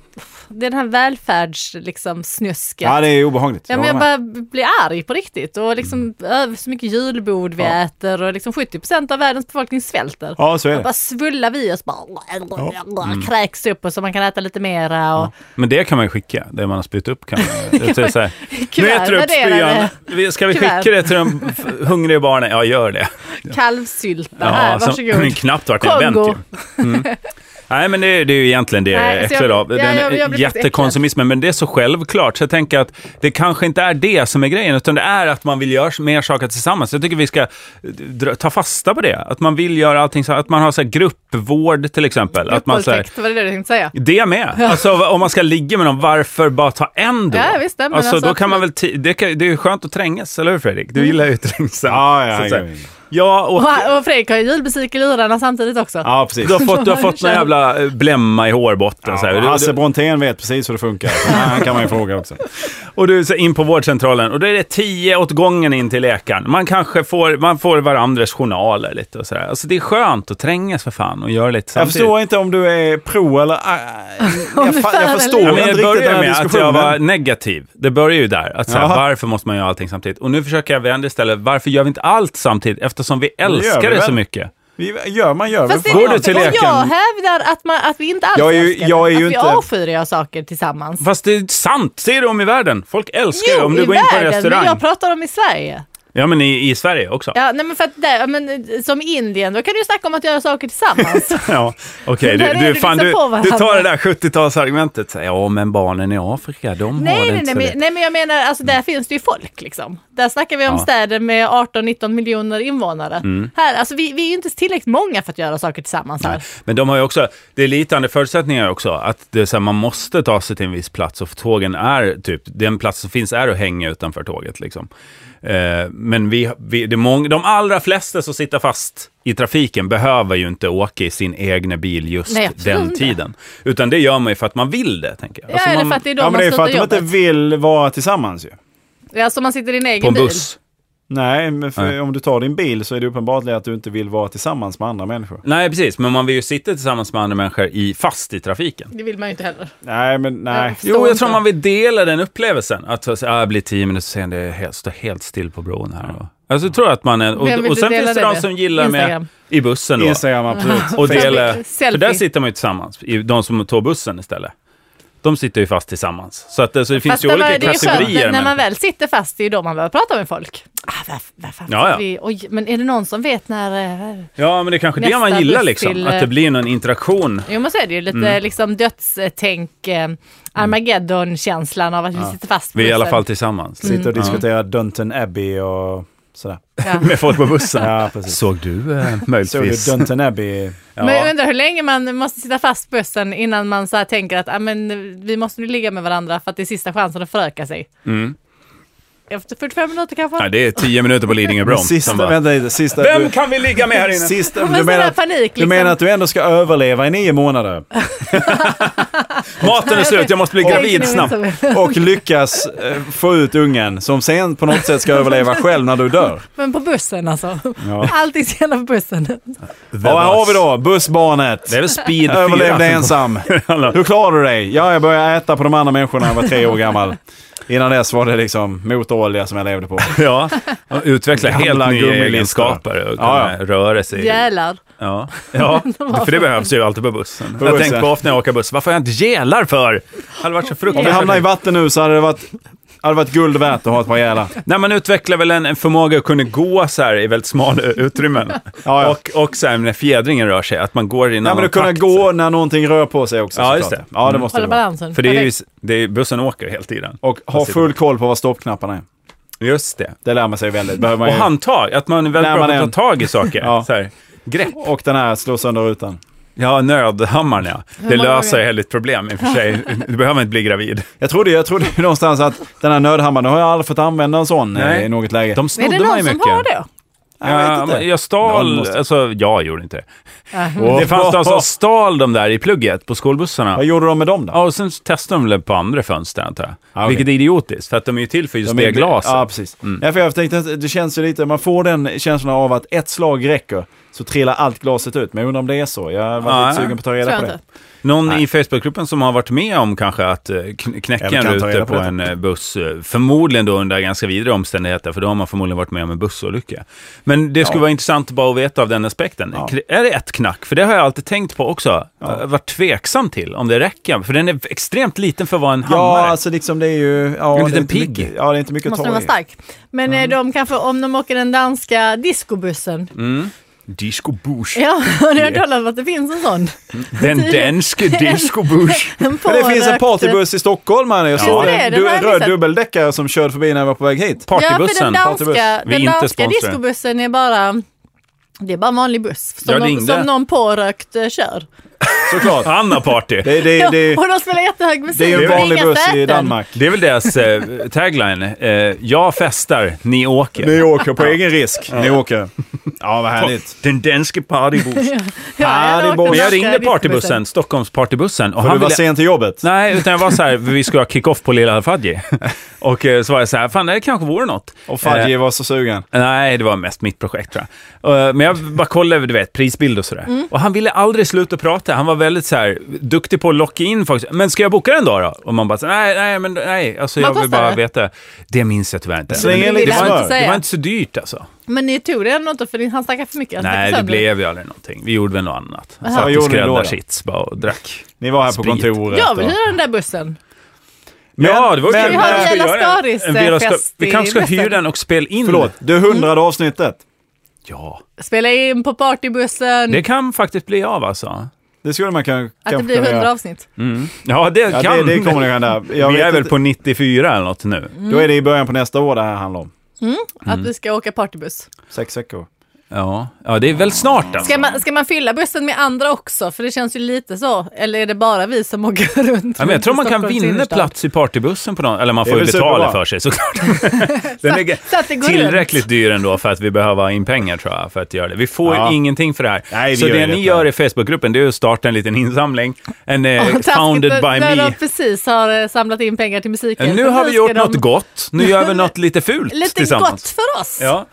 det är den här välfärds liksom snusket.
Ja, det är obehagligt.
Ja, men jag
håller med.
bara blir arg på riktigt och liksom över så mycket julbord vi
Ja.
äter och liksom 70 av världens befolkning svälter.
ja, så är
Och bara
det.
svullar vi oss bara
Mm.
kräks upp och så man kan äta lite mera och
Men det kan man ju skicka, det man har spytt upp kan
[laughs]
man ju- så, så här, Nu
Kuvert
äter du upp
värderade.
spyan. Vi- Ska vi
Kuvert.
skicka det till de f- hungriga barnen? Ja, gör det.
kalvsylta.
Ja,
här,
så- [laughs]
varsågod.
knappt vart jag vänt ju. Mm.
Kongo.
Nej, men det, är- det är ju egentligen det
[laughs]
jag
Nej,
är
så jag-
äcklad av.
ja,
Den
jag- jag blir faktiskt
jättekonsumismen, men det är så självklart. Så jag tänker att det kanske inte är det som är grejen, utan det är att man vill göra mer saker tillsammans. Jag tycker vi ska eh, dra- ta fasta på det. Att man vill göra allting så att man har så här gruppvård till exempel. Att man, så här,
Gruppvåldtäkt, var det det du tänkte säga?
det med. Alltså, va- om man ska ligga med någon, varför bara ta en då?
Ja, visst, ja, men
alltså,
alltså, Mm.
då kan man väl ti- det, kan, det är ju skönt att trängas, eller hur Fredrik? Du gillar ju trängseln.
Ja, ja,
Så att säga.
ja, ja.
ja, och
Och, och Fredrik har ju julmusik i lurarna samtidigt också.
Ja, precis.
du har fått,
[laughs]
du har fått någon jävla eh, blämma i hårbotten. så här.
Ja,
Du-
Hasse Brontén vet precis hur det funkar. Så Han kan man ju fråga också.
Och du är så in på vårdcentralen och då är det tio åt gången in till läkaren. Man kanske får, man får varandras journaler lite och sådär. Alltså det är skönt att trängas för fan och göra lite
Jag
samtidigt.
förstår inte om du är
[laughs]
pro eller... ah, Jag, fa-
fan
jag
eller
förstår
inte.
Ja,
inte
men
riktigt
jag
den
började
här
med att jag var
diskussionen.
negativ. Det börjar ju där. Att så här,
Jaha.
varför måste man göra allting samtidigt? Och nu försöker jag vända istället. Varför gör vi inte allt samtidigt? Eftersom vi
gör
älskar
vi
det så
väl.
mycket.
Vi- Gör man gör väl
Fast det
fan.
Går
är
du till
och
läkaren?
jag hävdar att, man, att vi inte alls
Jag är ju-
älskar det,
jag är ju
att
inte-
vi avskyr att göra saker tillsammans.
Fast det är sant. Se det om i världen. Folk älskar det. Om du
i
går in på en
världen,
restaurang.
men jag pratar om i Sverige.
Ja, men i, i Sverige också.
Ja, nej men för att där, ja, men, eh, som i Indien, då kan du ju snacka om att göra saker tillsammans.
[laughs] Ja, okej.
Där är
Du, du,
det
fan,
liksom
du,
på varandra.
du tar det där 70-talsargumentet. Så här, Ja, men barnen i Afrika, de
nej,
har det
nej,
inte
nej,
så
men,
lätt. Mm.
nej, men jag menar, alltså där finns det ju folk liksom. Där snackar vi om
Ja. Mm.
städer med 18-19 miljoner invånare. Här, alltså vi, vi är ju inte tillräckligt många för att göra saker tillsammans här.
Men de har ju också, det är litande förutsättningar också. Att det är så här, man måste ta sig till en viss plats och tågen är typ, den plats som finns är att hänga utanför tåget liksom. Eh, men vi, vi, det är många, de allra flesta som sitter fast i trafiken behöver ju inte åka i sin egna bil just
Nej, absolut
den
inte.
tiden. Utan det gör man ju för att man vill det, tänker jag.
Ja,
Alltså,
eller
man,
för att det är då
Ja, men
man
det är för
slutar
att de
jobbet.
inte vill vara tillsammans ju.
Ja, så Alltså, man sitter i en
på
egen
en
bil.
buss.
Nej, men för
Nej.
om du tar din bil så är det uppenbart att du inte vill vara tillsammans med andra människor.
Nej, precis. Men man vill ju sitta tillsammans med andra människor i, fast i trafiken.
Det vill man ju inte heller.
Nej, men nej.
Ja.
Jo,
Förstår
jag tror
inte.
man vill dela den upplevelsen. Att så, så, ah, jag blir tio minuter sen, det är helt, står helt still på bron här. Och, alltså, jag tror att man är, och,
Vem vill
och sen
du dela
finns det
det
de
med?
som gillar med
Instagram.
i bussen då.
Instagram, absolut.
Och
[laughs]
dela,
Selfie.
för där sitter man ju tillsammans, i- de som tar bussen istället. De sitter ju fast tillsammans. Så, att, det- så det finns
Fast
ju
det,
olika
var, det är skönt,
kategorier.
när- när man
människor.
väl sitter fast, det är ju då man behöver prata med folk. Ah, vad, vad fan
Ja,
sitter
ja.
Vi? Oj, men är det någon som vet när... eh,
Ja, men det är kanske det
Nästa
man gillar
buss
liksom.
till,
Att det
eh,
blir någon interaktion.
Jo men så är det ju, lite
Mm.
liksom dödstänk, eh, Armageddon-känslan av att vi sitter fast på
Vi är i alla
bussen. Mm.
fall tillsammans.
Sitter och diskuterar Dunton Abbey och
[laughs]
sådär.
Ja.
Med folk på bussen.
Ja, precis.
Såg du eh,
Såg du
möjligtvis?
Dunton Abbey?
Ja.
Men jag undrar hur länge man måste sitta fast på bussen innan man så här tänker att ah, men, vi måste nu ligga med varandra för att det är sista chansen att föröka sig. Efter 45 minuter kanske?
Mm. Nej, det är tio minuter på Lidingöbron.
[laughs] Sista,
Sen bara,
vänta lite, sista...
Vem
du-
kan vi ligga med här inne?
Sista,
Men
du,
sån
menar
där
att,
panik,
du
liksom.
menar att du ändå ska överleva i nio månader
[laughs]
Maten är slut, jag måste bli gravid snabbt.
och lyckas eh, få ut ungen som sen på något sätt ska överleva själv när du dör.
Men på bussen alltså.
Ja.
Allting ska gälla på bussen.
Ja, vad har vi då? Bussbarnet.
Det är alltså. väl speed 4.
Överlevde
[laughs]
ensam. [laughs] Hur klarar du dig? Ja, jag började äta på de andra människorna när jag var tre år gammal. Innan dess var det liksom motorolja som jag levde på.
Ja, och utveckla
Gamla
helt nya
gummilistor.
egenskaper och
Ja,
kunna röra sig.
Jälar.
Ja. ja, för det behövs ju alltid på bussen.
På
jag
bussen.
tänker på ofta när jag åker buss, varför har jag inte gälar för? Det hade varit så
Om vi hamnar i
fruktansvärt.
vatten nu så hade det varit, hade det varit guld värt att ha ett par gälar.
Nej, man utvecklar väl en, en förmåga att kunna gå så här i väldigt smala utrymmen.
[laughs] Ja, ja.
Och, och så här när fjädringen rör sig, att man går i en
Nej, men
annan
du kunna
takt.
gå när någonting rör på sig också.
Ja,
såklart.
just det.
Ja, det måste
Hålla
det vara.
balansen.
För det är ju,
Perfekt.
det är, bussen åker hela tiden.
Och ha full koll på vad stoppknapparna är.
Just det.
Det lär man sig väldigt. Behöver man
Och
ju.
handtag, att man är väldigt
När
bra
man
på att
än-
ta tag i saker.
[laughs] Ja.
så här. Grepp.
Och den här slå sönder rutan.
Ja, nödhammaren ja. Det
många
löser
gånger?
ju ditt problem i och för sig. Du behöver inte bli gravid.
Jag trodde, jag trodde [laughs] ju någonstans att den här nödhammaren, nu har jag aldrig fått använda en sån eh,
Nej.
i något läge.
De
Är
snodde
det
man ju
någon som
mycket.
har det?
Jag vet
Ja,
inte.
men jag stal,
Någon måste-
alltså jag gjorde inte det.
Äh.
Åh.
Det fanns de som stal de där i plugget på skolbussarna.
Vad gjorde de med dem då?
Ja, och sen testade de väl på andra fönster antar jag.
okej.
Vilket är idiotiskt, för att de är ju till för just
De är
det
inte-
glaset. Mm.
Ja, precis. Ja, för jag tänkte, att det känns ju lite, man får den känslan av att ett slag räcker så trillar allt glaset ut. Men jag undrar om det är så. Jag var
Ja,
lite
ja.
sugen på att ta reda
Tror
på
jag
det.
inte.
Någon i Facebookgruppen som har varit med om kanske att eh, kn- knäcka
Eller
en
kan ta
ruta
reda
på,
på detta.
en eh, buss, eh, förmodligen då under ganska vidriga omständigheter, för då har man förmodligen varit med om en bussolycka. Men det skulle vara intressant bara att veta av den aspekten.
Ja.
K- Är det ett knack? För det har jag alltid tänkt på också. Jag har varit tveksam till om det räcker, för den är extremt liten för att vara en hammare.
Ja, alltså liksom det är ju... Ja,
En
det är
liten
inte
pigg.
mycket- Ja, det är inte mycket att
Måste den
ta
vara
i.
stark. Men
Mm.
eh, de kanske, om de åker den danska discobussen.
Disco Bush.
Ja, [laughs] har ni hört talas om att det finns en sån?
Den danske Disco Bush.
En
Men det finns en
pårökt-
partybuss i Stockholm, man. jag såg
det,
en,
den
du,
har
en
jag
röd
missat.
dubbeldäckare som körde förbi när jag var på väg hit.
[laughs] Ja, för den
Partybussen.
partybuss.
danska,
Vi är
den
inte
danska
sponsrade.
discobussen är bara det är bara en vanlig buss
Jag
som, någon,
ringde.
som någon pårökt eh, kör.
Såklart.
Anna Party.
Det, det,
Ja,
det,
och de spelar jättehög musik.
det är ju en
och
vanlig
inga
buss i
säten.
Danmark.
Det är väl deras eh, tagline. Eh, jag festar, ni åker.
Ni åker på egen risk. Ni åker. Ja, vad härligt.
Den
[laughs]
danske partybussen.
Ja,
Ja, det är
jag, åker
bra.
Men jag
danska
ringde
discobussen.
partybussen, Stockholms partybussen.
För
Och
du
han
var
ville...
sen till jobbet.
Nej, utan jag var så här, vi skulle ha kick-off på
[laughs]
Lilla Fadji. Och eh, så var jag så här, fan det här kanske vore något.
Och Fadji
Eh,
var så sugen.
nej, det var mest mitt projekt tror jag. Eh, men jag bara kollade, du vet, prisbild och sådär.
Mm.
Och han ville aldrig sluta prata. Han var väldigt så här, duktig på att locka in folk. Men ska jag boka den då? då? Och man bara, så, nej, nej, men nej. Alltså,
Vad
jag vill
kostar
bara
det?
veta. Det minns jag tyvärr inte.
Släng
Men
in
det,
lite
var
smör.
inte, det var
Säga.
inte så dyrt alltså.
Men ni tog det ändå inte för han snackade för mycket. Han
Nej,
snackade
det
sönder.
blev ju aldrig någonting. Vi gjorde väl något annat.
Aha.
Satt
Vad
och
gjorde ni då då?
skräddarsits bara och drack.
Ni var här
Sprit.
på kontoret.
Jag vill
och-
hyra den där bussen.
ja, det var ju
men-
kul.
Vi har
Vi ska
Vela
göra en-
Staris,
en Vela
eh,
Sta-
fest
Vi
i
kanske ska
Västern.
hyra den och spela in.
Förlåt, det
Mm.
hundrade avsnittet.
Ja,
Spela in på partybussen.
det kan faktiskt bli av alltså. Mm.
Det skulle man kan,
att det
kanske
blir
kunna
hundra
göra.
avsnitt.
Ja, det
Ja,
kan.
det, det kommer det hända. Jag
vi
vet
är väl
inte.
på 94 eller något nu.
Då är det i
Mm.
början på nästa år det här handlar om.
Mm.
Att vi ska åka partybuss.
Sex veckor.
Ja, ja det är väl snart alltså.
Ska man, ska man fylla bussen med andra också? För det känns ju lite så. Eller är det bara vi som åker [laughs] runt?
Ja, men jag tror man kan
Stockholms
vinna
innerstad?
plats i partybussen på någon, eller man
Det är
får ju
väl
betala
superbra.
för sig såklart. Den är
Så att det går
tillräckligt dyr ändå för att vi behöver ha in pengar tror jag, för att göra det. Vi får
Ja.
ingenting för det här.
Nej, vi
så
gör
det
ju
ni
detta.
gör i Facebookgruppen, det är att starta en liten insamling. En eh,
runt. Och taskigt
founded
när-
by
När
me.
de precis har eh, samlat in pengar till musiken.
Nu
Så
har vi
ska
gjort
de-
något gott, nu gör vi något lite
[laughs]
fult
Lite
tillsammans.
gott för oss.
Ja.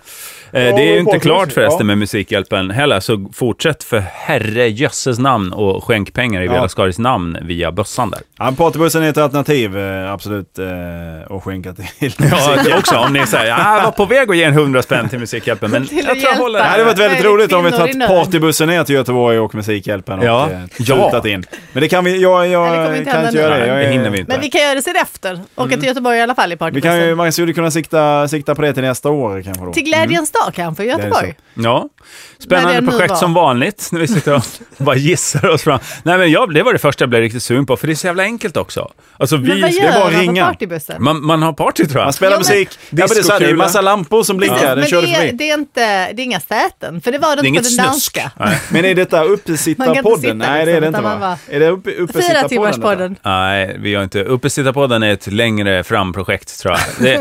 Eh, Det är
och
ju inte
folk-
klart
ja.
förresten med Musikhjälpen heller, så fortsätt för herre jösses namn och skänk pengar i
Ja.
Vela Skaris namn via bössan där.
Ja, partybussen är ett alternativ, eh, absolut, eh, att skänka till. [laughs]
Ja, det också om ni säger ah, jag var på väg att ge en hundra spänn till Musikhjälpen, men
Till
jag tror jag
hjälpen.
håller
Det hade varit väldigt
Väldigt
roligt om vi
kvinnor i
tagit
nöd.
partybussen ner till Göteborg och Musikhjälpen och
Ja.
eh, tutat in. Men det kan vi, jag,
Nej, det
jag
kommer inte
kan
hända
inte göra
nu.
det.
Nej,
Jag
det
är-
hinner vi inte.
Men vi kan göra det sen efter. Åka till Göteborg i alla fall i
Vi
partybussen.
kan ju, man skulle kunna sikta, sikta på det till nästa år kanske då.
Till glädjens dag kanske, i
är
Göteborg.
Ja,
När det
spännande
nu
projekt
var.
som vanligt när vi
[laughs]
sitter och bara gissar oss fram. Nej, men jag, det var det första jag blev riktigt sugen på, för det är så jävla enkelt också. Alltså,
Men
vi,
vad
är bara
gör
att
man på
ringa.
partybussen?
man, man har party tror jag.
Man spelar
Jo, men-
musik, ja, men det, är så här, det är
Diskokula.
massa lampor som blinkar, den
men
körde
det, är,
förbi.
det, är inte, det är inga säten, för det var det
det är
inte på
inget
den
snusk.
danska.
Nej.
Men är detta
Man kan inte
uppesittarpodden?
sitta
Nej, det
liksom,
är det inte
utan man
va?
bara-
Är det upp, uppesittarpodden?
Fyra timmars podden.
Nej, vi gör inte. Uppesittarpodden är ett längre fram-projekt tror jag. Det,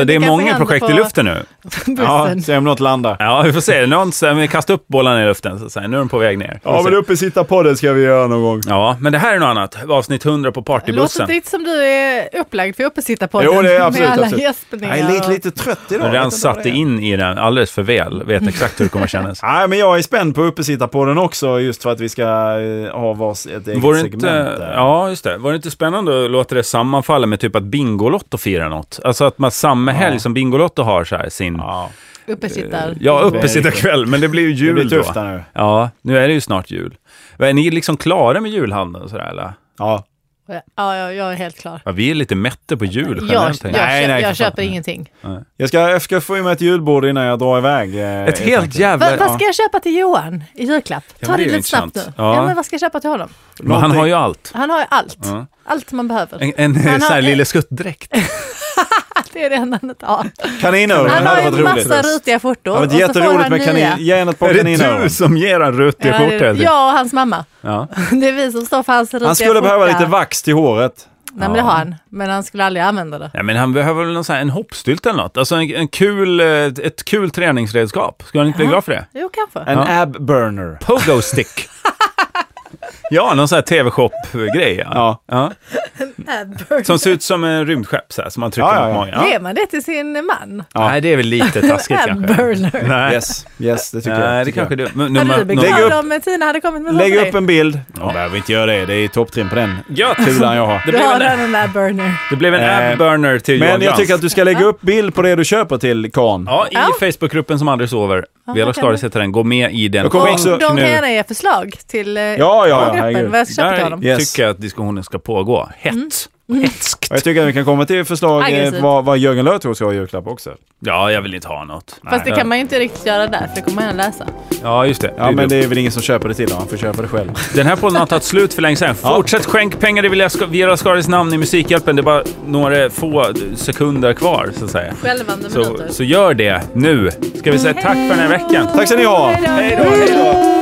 [laughs] Men det
det, är
kanske
många
händer
projekt i
på-
luften nu.
detta? Ja,
Bussen.
se om något landar.
Ja, vi får se. Någon säger, men kasta upp bollarna i luften, så, så här, nu är de på väg ner.
Ja, men uppesittarpodden ska vi göra någon gång.
Ja, men det här är något annat. Avsnitt 100 på
Låter
partybussen.
det inte som du är upplagd för uppesittarpodden?
Jo, det är absolut.
Med alla
absolut.
gäspningar.
Jag är lite,
och-
lite trött idag.
Jag har
Jag vet
redan
inte vad
satt
det är.
in i den alldeles för väl. Vet exakt hur det kommer kännas.
Nej, men jag är spänd på uppesittarpodden också just för att vi ska eh, ha vars ett eget
Vore
segment.
inte,
där.
ja, just det. Var det inte spännande att låta det sammanfalla med typ att Bingolotto firar något? Alltså att man samma helg som Bingolotto har så här sin... Ja,
Ja,
Uppesittar.
uppesittarkväll, men det blir ju
[laughs] det
jul
blir tufft
då.
här nu.
Ja, nu är det ju snart jul. Vad, Är ni liksom klara med julhandeln och sådär eller?
Ja.
Ja, ja, jag är helt klar.
Ja, vi är lite mätta på jul
Jag, jag,
generellt. tänker jag.
Nej,
köper,
nej,
jag
för fan.
köper ingenting.
Jag ska, jag ska få i mig ett julbord innan jag drar iväg. eh,
Ett helt
Va,
jävla...
vad ska jag köpa till Johan i julklapp?
Ja,
Ta
men
det
det är
lite
ju
snabbt nu.
intressant.
Ja.
Ja.
men vad ska jag köpa till honom?
Men han har ju allt.
Han har ju allt.
Ja.
Allt man behöver.
En, en
Han
sån här
har-
lille skuttdräkt.
Det är det enda han inte har.
Kaninöron,
Han
det
har
hade
ju
varit roligt.
massa
Det
rutiga skjortor.
hade
och så
varit
får
jätteroligt
han
med
nya.
kanin. Ge henne ett par
Är det
kaninöron.
du som ger han ruttig
Ja, det-
skjorta? Edvin?
Jag och hans mamma. [laughs]
Ja.
Det är vi som står för hans rutiga
Han skulle behöva
skjorta.
lite vax till håret.
Nej men det har han. Men han skulle aldrig använda det.
Nej, men han behöver väl någon sån här, en hoppstylt eller något. Alltså en, en kul, eh, ett kul träningsredskap. Skulle han inte bli glad för det?
Jo kanske.
En
Ja.
ab burner.
Pogo stick. ja, någon sån här TV-shop-grej. Ja.
Ja.
Som ser ut som en rymdskepp så här, som man trycker
Ja, ja,
mot
ja.
magen.
Ger man det till sin man?
Ja.
Nej, det är väl lite [laughs] taskigt
En
kanske.
burner.
Nej,
Yes, yes, det tycker jag.
Nej det
tycker
kanske
jag.
du... men-
Hade du
nummer-
blivit
nummer-
Lägg upp-
glad om tiden hade kommit med
Lägg
något
upp en bild. Jag behöver inte göra det, det är topptrim på den
Gött!
kulan jag har.
Det
Du
blev
har
en,
redan en ab-burner.
det blev en
Eh,
ab-burner till Johan
Men jag
Glans.
tycker att du ska lägga upp bild på det du köper till Kan.
Ja, i
Ja.
Facebookgruppen som aldrig sover.
Ja,
Vela
det kan
Skaris
du.
heter den. Gå med i den.
Jag kommer
Och-
också-
Och de kan
nu.
gärna ge förslag till eh,
Ja, ja, ja, herregud.
gruppen vad jag ska köpa
Där
till honom.
Yes.
tycker jag att diskussionen ska pågå. Hett. Hetskt.
Och jag tycker att vi kan komma till förslag eh,
Aggressivt.
vad, vad Jörgen Lötros ska ha i julklapp också.
Ja, jag vill inte ha något.
Fast det
Nej.
kan man ju inte riktigt göra där för det kommer han läsa.
Ja, just det.
Ja,
Det är
men
dumt.
det är väl ingen som köper det till honom, han får köpa
[laughs]
det själv.
Den här podden har tagit slut för länge sedan. Fortsätt skänk pengar i Vela Sk- Vela Skaris namn i Musikhjälpen. Det är bara några få sekunder kvar, så att säga.
Självande
Så,
minuter.
så gör det nu. Ska vi säga tack för den här veckan?
Tack ska ni ha!
Hej då! Hej då.